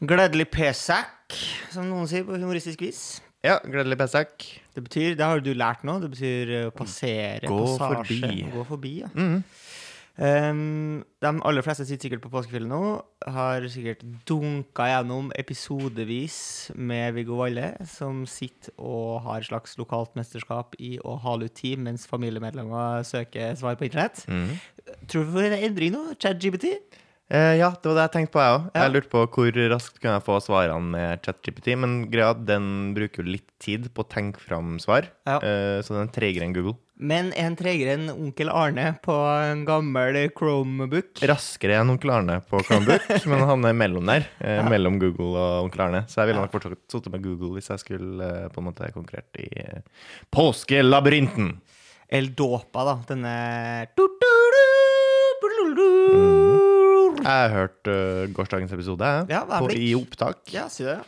Gledelig pesak, som noen sier på humoristisk vis. Ja, gledelig Pesach. Det betyr, det har du lært nå, det betyr eh, passere, Mm. Gå passasje. forbi. Mm. Gå forbi, ja. Um, de aller fleste sitter sikkert på påskefjellet nå, har sikkert dunka gjennom episodevis med Viggo Valle, som sitter og har et slags lokalt mesterskap i å hale ut tid mens familiemedlemmer søker svar på internett. Mm. Tror du vi får en endring nå? ChatGBT? Eh, ja, det var det jeg tenkte på, jeg òg. Ja. Jeg lurte på hvor raskt kunne jeg få svarene med ChatGPT. Men greia er at den bruker jo litt tid på å tenke fram svar, Ja. eh, så den er tregere enn Google. Men en tregere enn onkel Arne på en gammel Chromebook. Raskere enn onkel Arne på Chromebook, men han er mellom der. Eh, Mellom Google og onkel Arne. Så jeg ville nok fortsatt sittet med Google hvis jeg skulle eh, på en måte konkurrert i eh, påskelabyrinten. El Dopa, da. Denne Jeg hørte eh, gårsdagens episode jeg, Ja, hva er på, flink? i opptak. Ja, si det.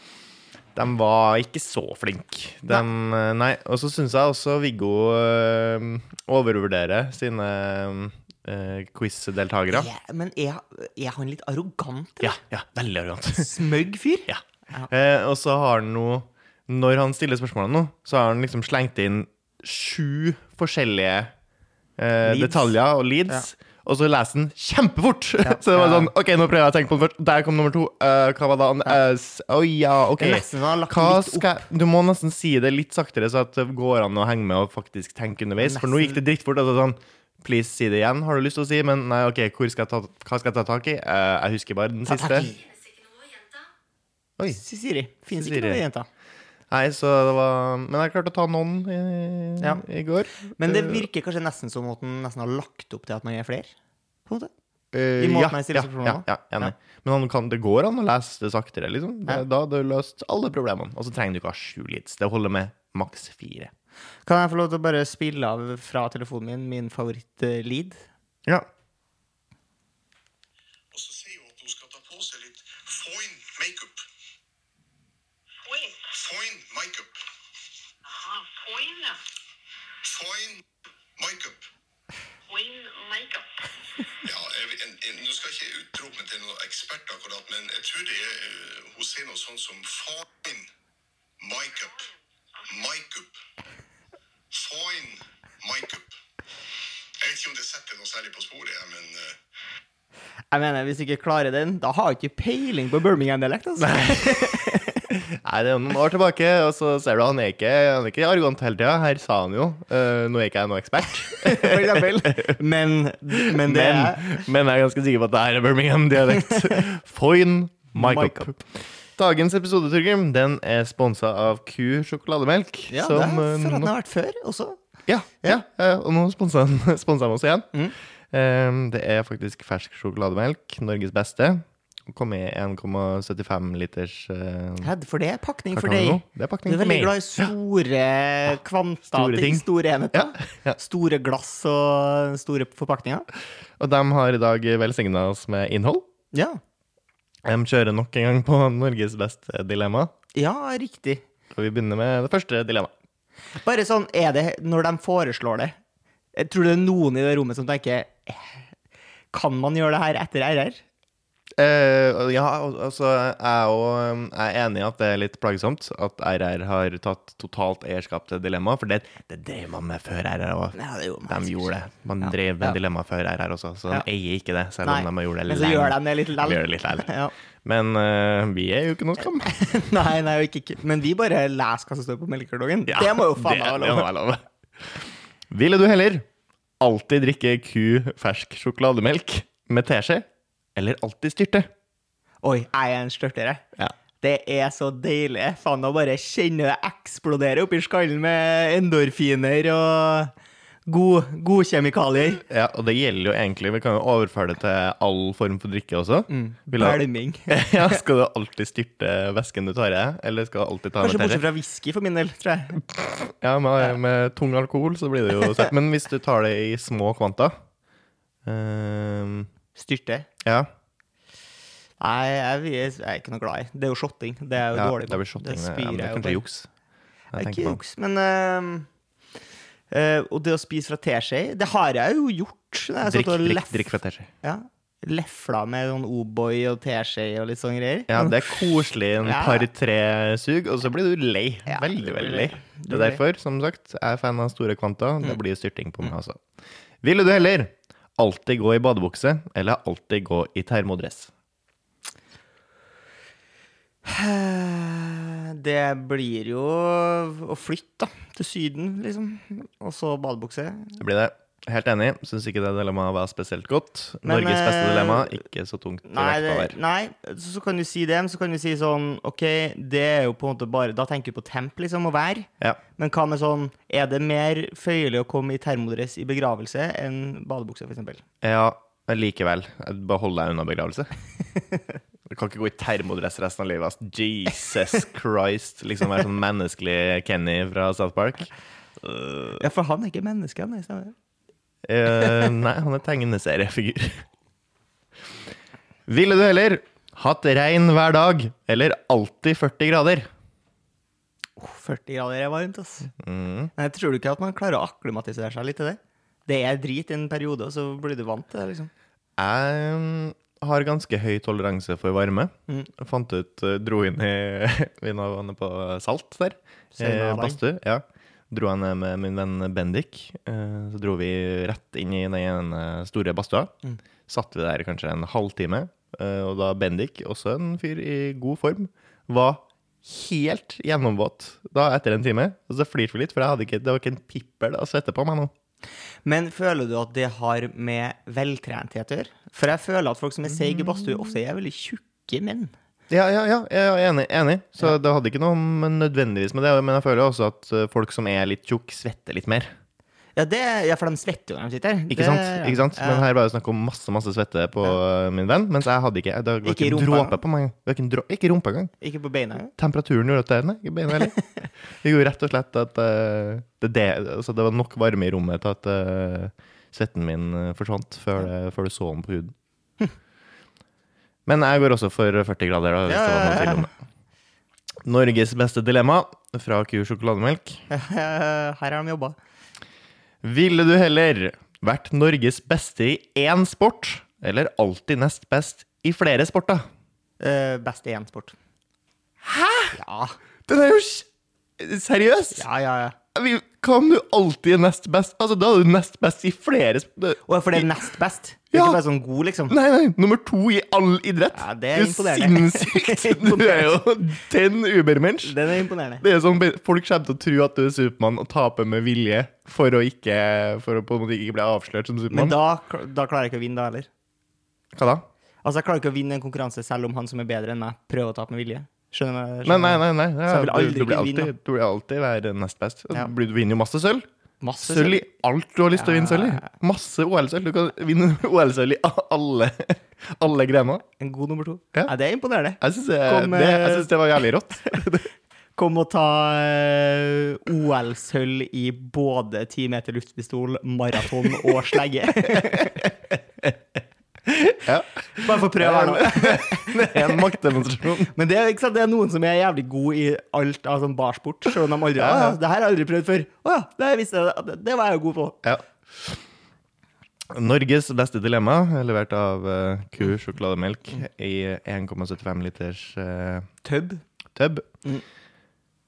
De var ikke så flinke. De, nei. Og så syns jeg også Viggo øh, overvurderer sine øh, quiz-deltakere. Ja, men er, er han litt arrogant? eller? Ja, ja, veldig arrogant. Smøgg fyr? ja. Eh, og så har han nå, når han stiller spørsmålene nå, så har han liksom slengt inn sju forskjellige eh, Leads. detaljer og leads. Og så leser han kjempefort! så det var ja. sånn OK, nå prøver jeg å tenke på den først. Der kom nummer to. Eh, hva var da? Å ja, OK. Det er nesten som han har lagt Hva litt opp. skal jeg Du må nesten si det litt saktere, så at det går an å henge med og faktisk tenke underveis. For nå Nesten. gikk det drittfort. Altså sånn Please, si det igjen, har du lyst til å si. Men nei, OK, hvor skal jeg ta, hva skal jeg ta tak i? Eh, jeg husker bare den Ta tak siste. i. Oi. Si Siri. Finnes Si ikke Siri. noe jenta. Nei, så det var Men jeg klarte å ta noen i, Ja. i går. Men det virker kanskje nesten som at han nesten har lagt opp til at man er flere. På en måte. Eh, i måten ja, jeg stiller ja, spørsmål ja, nå. ja, enig. Men han kan, det går an å lese det saktere, liksom. Det, Ja. Da har du løst alle problemene. Og så trenger du ikke ha sju leads. Det holder med maks fire. Kan jeg få lov til å bare spille av fra telefonen min min favoritt-lead? Ja. Og så sier hun at hun skal ta på seg litt foin makeup. Foin. Foin makeup. Aha, foin, ja. Foin makeup. Foin makeup. Ja, jeg, vet- en, en, Nå skal jeg ikke utrope meg til noen ekspert akkurat, men jeg tror det er eh, Hun sier noe sånn som foin makeup. Makeup. Foin makeup. Jeg vet ikke om det setter noe særlig på sporet, jeg, men eh, Jeg mener, Hvis du ikke klarer den, da har jeg ikke peiling på Birmingham-dialekt. altså. Nei, det er jo noen år tilbake, og så ser du han er ikke, han er ikke arrogant hele tida. Her sa han jo eh, Nå er ikke jeg noen ekspert, For eksempel. Men, men det men, er men jeg er ganske sikker på at det her er Birmingham-dialekt. Foyn Mike Mike-up. Dagens episode, Torgrim, den er sponsa av Q sjokolademelk. Ja, det som, er for eh, at nå- den har vært før også. Ja, ja. eh, og nå sponser han sponser han oss igjen. Mm. Eh, det er faktisk fersk sjokolademelk, Norges beste. Kom i 1,75 liters eh, Hæ, for det er pakning for Kakao deg. nå. Det er du pakning er for veldig meg. glad i store kvanta Store ting, ting. store enheter. Ja, ja. Store glass og store forpakninger. Og de har i dag velsigna oss med innhold. Ja. De kjører nok en gang på Norges beste dilemma. ja, riktig. Og vi begynner med det første dilemmaet. Bare sånn er det når de foreslår det. Jeg tror det er noen i det rommet som tenker eh, Kan man gjøre det her etter RR? Eh, og ja, al- altså jeg og, um, jeg er enig i at det er litt plagsomt at RR har tatt totalt eierskap til dilemmaet, for det, det drev man med før RR òg. Ja, det gjorde man sikkert. de gjorde det. Man altså, Ja, drev med ja. dilemma før RR også, så de Ja. eier ikke det, selv om de har gjort det men så gjør de lenge. det litt Vi gjør lell. det litt lell. Ja. Men eh, vi er jo ikke noe skam. Nei, nei, ikke, ikke. Men vi bare leser hva som står på melkekartongen. det må jo faen meg være det lov. må være lov. Ville du heller alltid drikke ku fersk sjokolademelk med teskje, eller alltid styrte? Oi, jeg er en størtere. Ja. Det er så deilig. Faen, å bare kjenne det eksplodere oppi skallen med endorfiner og god, god kjemikalier. Ja, og det gjelder jo egentlig, vi kan jo overføre det til all form for drikke også. Mm. Vil du- Pælming. ja, skal du alltid styrte væsken du tar i deg, eller skal du alltid ta Kanskje med bortsett teskje? fra whisky, for min del, tror jeg. Ja, med, med tung alkohol så blir det jo søtt. Men hvis du tar det i små kvanta ehm, Styrte. Ja. Nei, jeg, jeg, jeg er ikke noe glad i. Det er jo shotting. Det er jo ja dårlig. det blir shotting. Det ja, spyr eh, men jeg det er jo kanskje bare. juks. Det jeg er tenker ikke på. juks, men eh, øhm, øh, Og det å spise fra teskje, det har jeg jo gjort. når jeg satt Drikk, og drikk, leff- drikk fra teskje. Ja. lefla med sånn O'boy og teskje og litt sånn greier. Ja, det er koselig en Ja. par-tre sug, og så blir du lei. Ja, du veldig, blir veldig lei. Mm. lei. Du Det er blir derfor, som sagt, jeg er fan av store kvanta. Det blir styrting på meg også. Ville du heller alltid gå i badebukse eller alltid gå i termodress? Eh, Det blir jo å flytte, da. Til Syden, liksom. Og så badebukse. Det blir det. Helt enig. Syns ikke det dilemmaet var spesielt godt. Men, Norges beste eh, dilemma, ikke så tungt Nei, vekta det, der. nei, så så kan du si det, men så kan du si sånn OK, det er jo på en måte bare Da tenker du på temp, liksom, og vær. Ja. Men hva med sånn Er det mer føyelig å komme i termodress i begravelse enn badebukse, f.eks.? ja, men likevel. Bare hold deg unna begravelse. Du kan ikke gå i termodress resten av livet. ass. Jesus Christ. Liksom være sånn menneskelig Kenny fra South Park. Ja, for han er ikke menneske, han. er, sånn, stemmer det? Eh, nei, han er tegneseriefigur. Ville du heller hatt regn hver dag eller alltid 40 grader? Åh, 40 grader er varmt, ass. Mm. Nei, tror du ikke at man klarer å akklimatisere seg litt til det? Det er drit i en periode, og så blir du vant til det, liksom. Jeg mm, har ganske høy toleranse for varme. Jeg Fant ut, eh, dro inn i Vi nå var nede på Salt der. Senere eh, dag. Badstue. Ja. Dro jeg ned med min venn Bendik. eh, Så dro vi rett inn i den ene store badstua. Satt vi der kanskje en halvtime. eh, Og da Bendik, også en fyr i god form, var helt gjennomvåt da etter en time. Og så flirte vi litt, for jeg hadde ikke, det var ikke en pippel av svette på meg nå. Men føler du at det har med veltrenthet å gjøre? For jeg føler at folk som er seige i badstue, ofte er veldig tjukke menn. Ja, ja, ja, jeg er enig. enig. Så det hadde ikke noe med- nødvendigvis med det, men jeg føler også at eh, folk som er litt tjukk, svetter litt mer. Ja, det, ja for de svetter jo når de sitter. Ikke Det- sant? Ikke sant? Men Ja. her var det snakk om masse masse svette på eh, min venn, mens jeg hadde ikke Det var Ikke i ikke en rumpa dråpe på meg. Det var ikke, en drå, ikke i rumpa engang. Ikke på beina. Temperaturen gjorde at det Nei, ikke beina heller. Det gjorde rett og slett at eh, det, det, altså det var nok varme i rommet til at eh, svetten min eh, forsvant før, det, før du så den på huden. Men jeg går også for 40 grader, da. Hvis Ja, det var ja, noe ja. tvil om det. Norges beste dilemma fra Q sjokolademelk. Her har de jobba. Ville du heller vært Norges beste i én sport, eller alltid nest best i flere sporter? Eh, best i én sport. Hæ?! Ja, Den er jo sj- Seriøst? ja, ja. ja. Vi- Hva om du alltid er nest best? Altså, da er du nest best i flere sp- det- Og for det er nest best. Det er Ja. ikke bare sånn god, liksom. Nei, nei, nummer to i all idrett. Ja, det er imponerende. sinnssykt. Du er jo den ubermensch. Den er imponerende. Det er sånn, be- Folk kommer til å tro at du er Supermann og taper med vilje for å, ikke, for å på en måte ikke bli avslørt som Men Supermann. da, da klarer jeg ikke å vinne, da heller. Hva da? Altså, jeg klarer ikke å vinne en konkurranse selv om han som er bedre enn meg, prøver å tape med vilje. Skjønner du? hva jeg- Nei, skjønner nei, du? nei. nei. Så jeg Ja, vil du, aldri du, blir kunne vinne, da. alltid, du blir alltid være nest best. Ja. Du blir- du vinner jo masse sølv. Masse Sølv i alt du har lyst til å vinne Ja. sølv i. Masse OL-sølv. Du kan vinne OL-sølv i alle, alle grener. En god nummer to. Ja. Nei, det er imponerende. Jeg syns det, Kom, eh, det, jeg synes det var jævlig rått. Kom og ta eh, OL-sølv i både 10 meter luftpistol, maraton og slegge. Ja. Bare for å prøve her nå. Det er en maktdemonstrasjon. Men det, er- ikke sant? det er noen som er jævlig god i alt av sånn barsport. Selv om de aldri Ja, ja. «Å, Det her har jeg aldri prøvd før. Å ja, det, visste jeg, det- det var jeg jo god på. Ja. Norges beste dilemma, er levert av eh, ku sjokolademelk i 1,75 liters eh, Tøbb. tub. Mm.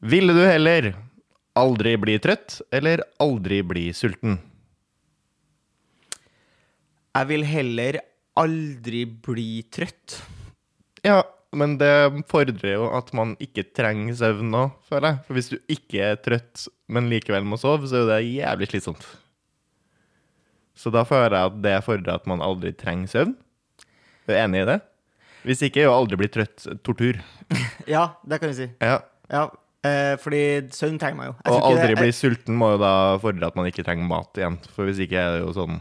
Ville du heller aldri bli trøtt eller aldri bli sulten? Jeg vil heller aldri bli trøtt. Ja, men det fordrer jo at man ikke trenger søvn nå, føler jeg. For hvis du ikke er trøtt, men likevel må sove, så er jo det jævlig slitsomt. Så da føler jeg at det fordrer at man aldri trenger søvn. Du er enig i det? Hvis ikke er jo aldri bli trøtt tortur. Ja, det kan du si. Ja. Ja, eh, fordi søvn trenger meg jo. Jeg tror Og ikke aldri det- bli sulten må jo da fordre at man ikke trenger mat igjen. For hvis ikke er det jo sånn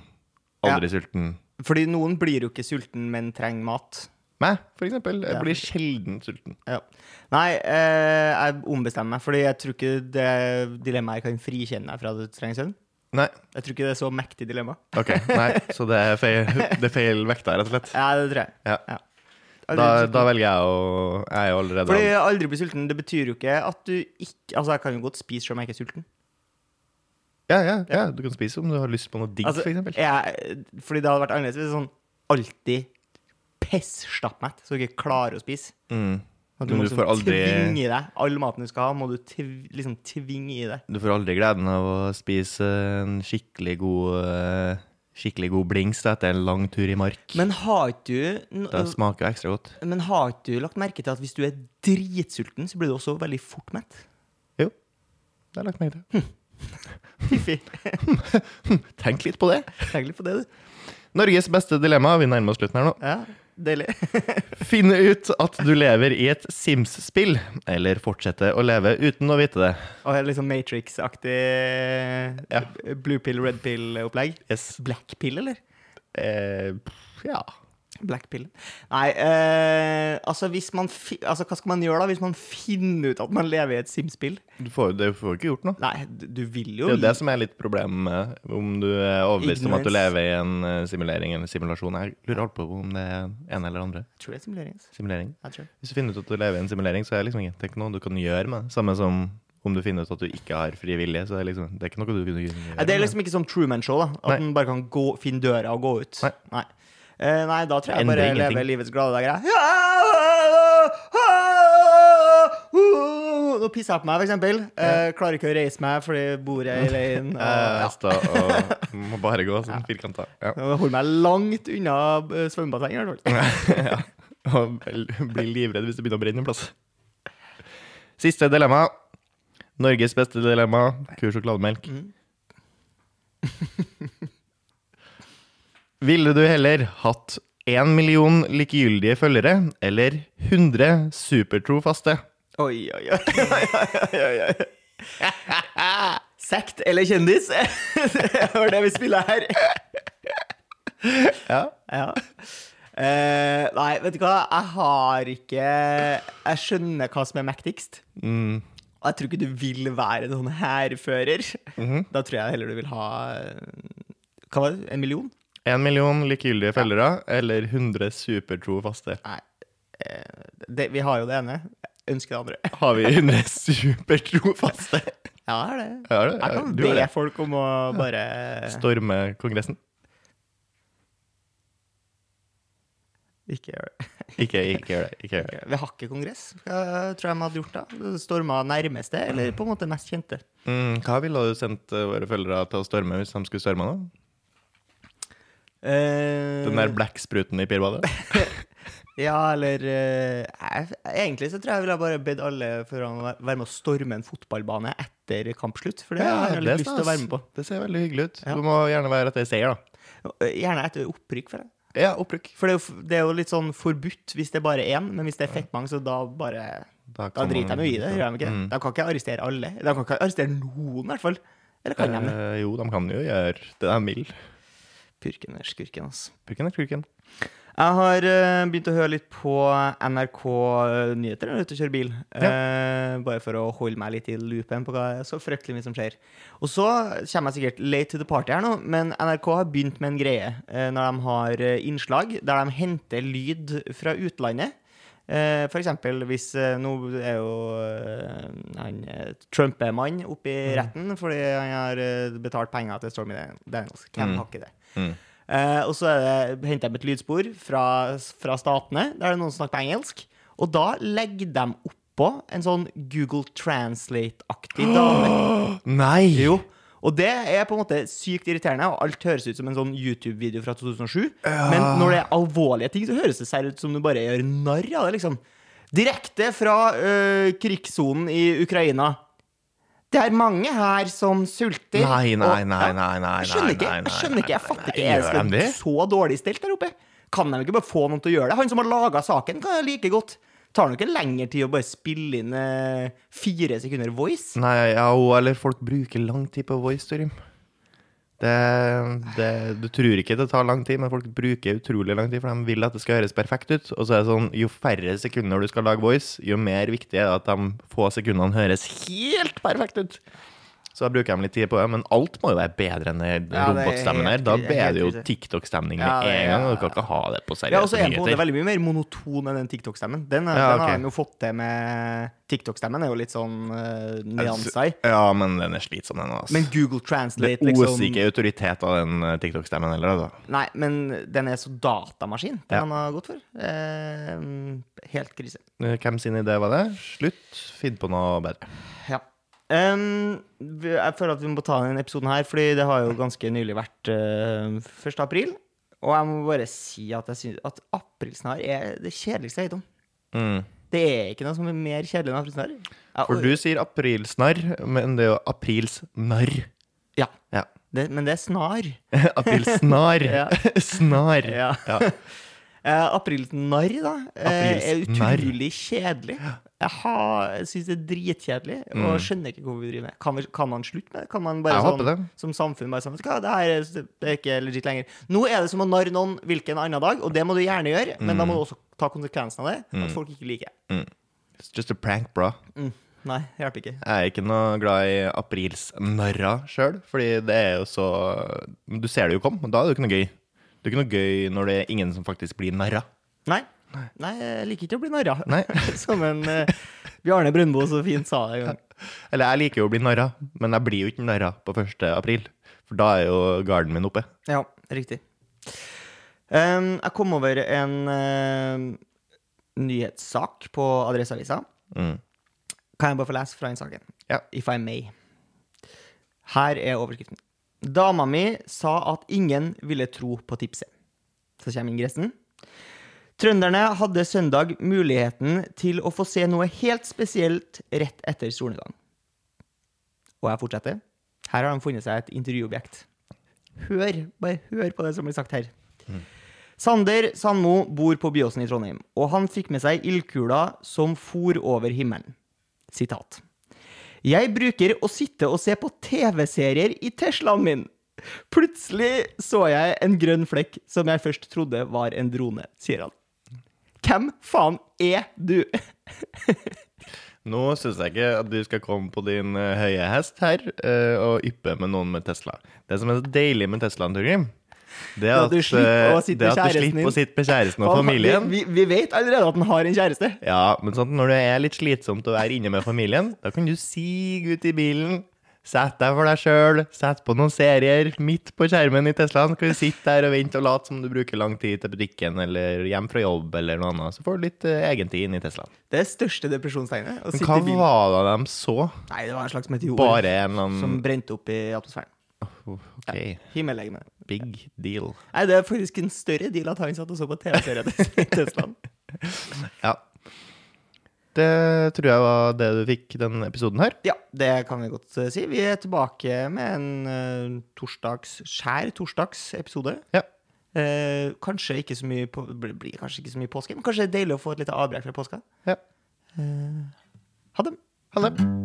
aldri sulten. Fordi noen blir jo ikke sulten, men trenger mat. Meg, for eksempel. Jeg Ja. blir sjelden sulten. Ja. Nei, eh, jeg ombestemmer meg, Fordi jeg tror ikke det dilemmaet her kan frikjenne deg fra at du trenger søvn. Nei. Jeg tror ikke det er så mektig dilemma. Ok, nei, så det er feil, det er feil vekta, rett og slett. Ja, det tror jeg. Ja. Aldri Da, bli sulten. da velger jeg å Jeg er jo allerede Fordi aldri bli sulten, det betyr jo ikke at du ikke Altså, jeg kan jo godt spise selv om jeg ikke er sulten. ja, ja, ja, du kan spise om du har lyst på noe digg, Altså, for eksempel. jeg, fordi det hadde vært annerledes hvis det er sånn alltid pissstappmett, så du ikke klarer å spise. Mm. At Men må du liksom får aldri- tvinge i deg all maten du skal ha, må du tv liksom tvinge i deg. Du får aldri gleden av å spise en skikkelig god, eh, skikkelig god blings etter en lang tur i mark. Men altså- har ikke du no- Det smaker ekstra godt. Men har ikke du lagt merke til at hvis du er dritsulten, så blir du også veldig fort mett? Jo, det har jeg lagt merke til. Fiffig. Hm, Tenk litt på det. Egentlig på det, du. Norges beste dilemma. Vi nærmer oss slutten her nå. Ja, Deilig. Finne ut at du lever i et Sims-spill, eller fortsette å leve uten å vite det. Og litt sånn Matrix-aktig eh, blue pill, red pill-opplegg. Yes. Black pill, eller? Eh, pff, ja. Black pill. Nei, eh, altså, hvis man fi altså hva skal man gjøre da hvis man finner ut at man lever i et Sims-spill? Du får, du får ikke gjort noe. Nei, du du vil Det jo er jo det som er litt problemet med om du er overbevist om at du Ignorance. lever i en eh, simulering eller simulasjon. Jeg lurer alt på om det er ene eller andre Jeg tror det er simulering. altså. simulering. Jeg tror det. Hvis du finner ut at du lever i en simulering, så er det liksom ikke det er ikke noe du kan gjøre med det. Samme som om du finner ut at du ikke har fri vilje, så er det liksom Det er ikke noe du kunne gjøre. Nei, Det er med. liksom ikke som Truman Show, da. At Nei. man bare kan gå, finne døra og gå ut. Nei. Nei, Eh, nei da tror jeg Endrer bare jeg ingenting. lever livets glade dager. jeg. Nå pisser jeg på meg, for eksempel. Eh, klarer ikke å reise meg fordi bordet er i veien. og- Jeg Ja. står og må bare gå sånn firkanta. Ja. Jeg holder meg langt unna eh, svømmebassenget, i hvert fall. ja. Og blir livredd hvis det begynner å brenne en plass. Siste dilemma. Norges beste dilemma. Kur sjokolademelk. Mm. Ville du heller hatt én million likegyldige følgere eller 100 supertrofaste? Oi, oi, oi, oi, oi, oi, oi. Sekt eller kjendis? det var det vi spiller her. Ja. Ja. Eh, nei, vet du hva? Jeg har ikke Jeg skjønner hva som er mektigst. Mm. Og jeg tror ikke du vil være en sånn hærfører. Da tror jeg heller du vil ha eh, Hva var det? En million? Én million likegyldige følgere eller 100 supertrofaste? Nei. eh, det, vi har jo det ene. Jeg ønsker det andre. Har vi 100 supertrofaste? Ja, det er det. Ja, Jeg det- ja, kan du har be det. folk om å bare Storme Kongressen? Ikke gjøre det. Ikke, ikke gjør det. Ikke gjør det. Vi har ikke kongress, eh, tror jeg de hadde gjort da. Storma nærmeste, eller på en måte mest kjente. Mm, hva ville du sendt eh, våre følgere til å storme hvis de skulle storme nå? Eh, Den der black-spruten i pirbadet? Ja, eller eh, jeg, Egentlig så tror jeg jeg ville bare bedt alle for å være med å storme en fotballbane etter kampslutt. For det har jeg litt lyst til å stas. være med på. Det ser veldig hyggelig ut. Ja. Du må gjerne være etter seier, da. Gjerne etter opprykk. For, det. Ja, opprykk. for det, er jo, f- det er jo litt sånn forbudt hvis det er bare én, men hvis det er fettmange, så da bare Da, Da kan driter man- de jo i det. Gjør de ikke det? Mm. De kan ikke arrestere alle. De kan ikke arrestere noen, i hvert fall. Eller kan de det? Eh, jo, de kan jo gjøre det de vil. Purken er skurken, altså. Purken er purken. Jeg har eh, begynt å høre litt på NRK Nyheter når jeg er ute og kjører bil. Eh, bare for å holde meg litt i loopen på hva så fryktelig mye som skjer. Og så kommer jeg sikkert late to the party her nå, men NRK har begynt med en greie eh, når de har eh, innslag der de henter lyd fra utlandet. Eh, For eksempel hvis eh, Nå er jo eh, han eh, Trump-mann oppe i retten fordi han har eh, betalt penger til Stormy Dan- Daniels. Hvem har ikke det? Eh, og så er det- henter de et lydspor fra, fra statene, der det er noen som snakker engelsk. Og da legger de oppå en sånn Google Translate-aktig dame. Nei! Jo. Og det er på en måte sykt irriterende, og alt høres ut som en sånn YouTube-video fra 2007. Men når det er alvorlige ting, så høres det seg ut som du bare gjør narr av det, liksom. Direkte fra eh, krigssonen i Ukraina. Det er mange her som sulter. Nei, nei, og- nei, nei, nei, jeg skjønner nei, ikke, nei, jeg nei, skjønner ikke, jeg nei, fatter nei, ikke. nei. Er Gjør de det det? så dårlig stilt der oppe? Kan de ikke bare få noen til å gjøre det? Han som har laga saken, kan jo like godt. Tar det ikke lengre tid å bare spille inn eh, fire sekunder voice? Nei, ja, og- eller folk bruker lang tid på voice stream. Det, det, du tror ikke det tar lang tid, men folk bruker utrolig lang tid, for de vil at det skal høres perfekt ut. Og så er det sånn, jo færre sekunder du skal lage voice, jo mer viktig er det at de få sekundene høres helt perfekt ut. Så da bruker jeg litt tid på det. Men alt må jo være bedre enn den Ja, det er robotstemmen her. helt Da krise, ble helt det jo krise. TikTok-stemning med Ja, det er- en gang. Og du kan ikke ha det på Ja, og så seriøse er den på en måte nyheter. veldig mye mer monoton enn den TikTok-stemmen. Den, er- Ja, den ok. har han jo fått til med TikTok-stemmen, er jo litt sånn uh, nyanser i. Ja, men den er slitsom, den òg. Men Google Det Translate, liksom oser ikke autoritet av den eh, TikTok-stemmen heller, altså. Nei, men den er så datamaskin, den Ja. han har gått for. Eh, helt krise. Eh, Hvem sin idé var det? Slutt, finn på noe bedre. Ja. Em, vi- jeg føler at vi må ta denne episoden her, fordi det har jo ganske nylig vært eh, 1. april. Og jeg må bare si at jeg synes at aprilsnarr er det kjedeligste jeg vet om. Mm. Det er ikke noe som er mer kjedelig enn aprilsnarr. Ja, For og- du sier aprilsnarr, men det er jo aprilsnarr. Ja, Ja. det, men det er snar. Aprilsnar. Ja. Snar. Ja. Eh, aprilsnarr, da, eh, er Aprilsnarr. utrolig kjedelig. Jeg, har- jeg syns det er dritkjedelig, og skjønner ikke hvorfor vi driver med det. Kan, vi- kan man slutte med det? Kan man bare Mm. Jeg sånn, håper det. som samfunn bare sånn, vet du hva, det her er, det er ikke legit lenger. Nå er det som å narre noen hvilken annen dag, og det må du gjerne gjøre, men Mm. da må du også ta konsekvensen av det, at folk ikke liker det. It's just a prank, bra. Mm. Nei, det hjelper ikke. Jeg er ikke noe glad i aprilsnarra sjøl, fordi det er jo så Du ser det jo komme, og da er det jo ikke noe gøy. Det er ikke noe gøy når det er ingen som faktisk blir narra. Nei. Nei, jeg liker ikke å bli narra. Nei. som en eh, Bjarne Brøndbo så fint sa det en gang. Eller jeg liker jo å bli narra, men jeg blir jo ikke narra på 1. april. For da er jo garden min oppe. Ja, riktig. Em, jeg kom over en em, nyhetssak på Adresseavisa. Mm. Kan jeg bare få lese fra den saken? Ja. If I may. Her er overskriften. Dama mi sa at ingen ville tro på tipset. Så kommer ingressen. Trønderne hadde søndag muligheten til å få se noe helt spesielt rett etter solnedgang. Og jeg fortsetter. Her har de funnet seg et intervjuobjekt. Hør, bare hør på det som blir sagt her. Sander Sandmo bor på Byåsen i Trondheim, og han fikk med seg ildkula som for over himmelen. Sitat. Jeg bruker å sitte og se på TV-serier i Teslaen min. Plutselig så jeg en grønn flekk som jeg først trodde var en drone, sier han. Hvem faen er du? Nå syns jeg ikke at du skal komme på din eh, høye hest her eh, og yppe med noen med Tesla. Det som er så deilig med Teslaen, Torgrim, det er Ja, at, du slipper eh, å sitte det er med at du kjæresten din. slipper å sitte med kjæresten og familien. Vi, vi vet allerede at han har en kjæreste. Ja, men sånn, når det er litt slitsomt å være inne med familien, da kan du sige ut i bilen. Sett deg for deg sjøl, sett på noen serier midt på skjermen i Teslaen. Så kan du sitte der og vente og late som du bruker lang tid til butikken eller hjem fra jobb eller noe annet. Så får du litt eh, egentid inn i Teslaen. Det er største depresjonstegnet. Å Men sitte hva i bilen. var det de så? Nei, det var en slags meteor Bare en eller som annen brente opp i atmosfæren. OK, Himmellegeme. big deal. Nei, det er faktisk en større deal at han satt og så på TV-serien i Teslaen. Ja. Det tror jeg var det du fikk den episoden her. Ja, det kan vi godt eh, si. Vi er tilbake med en eh, torsdags, skjær torsdagsepisode. Ja. Eh, kanskje ikke så mye på, blir blir kanskje ikke så mye påske, men kanskje det er deilig å få et lite avbrekk fra påska. ja. Ha det. Ha det.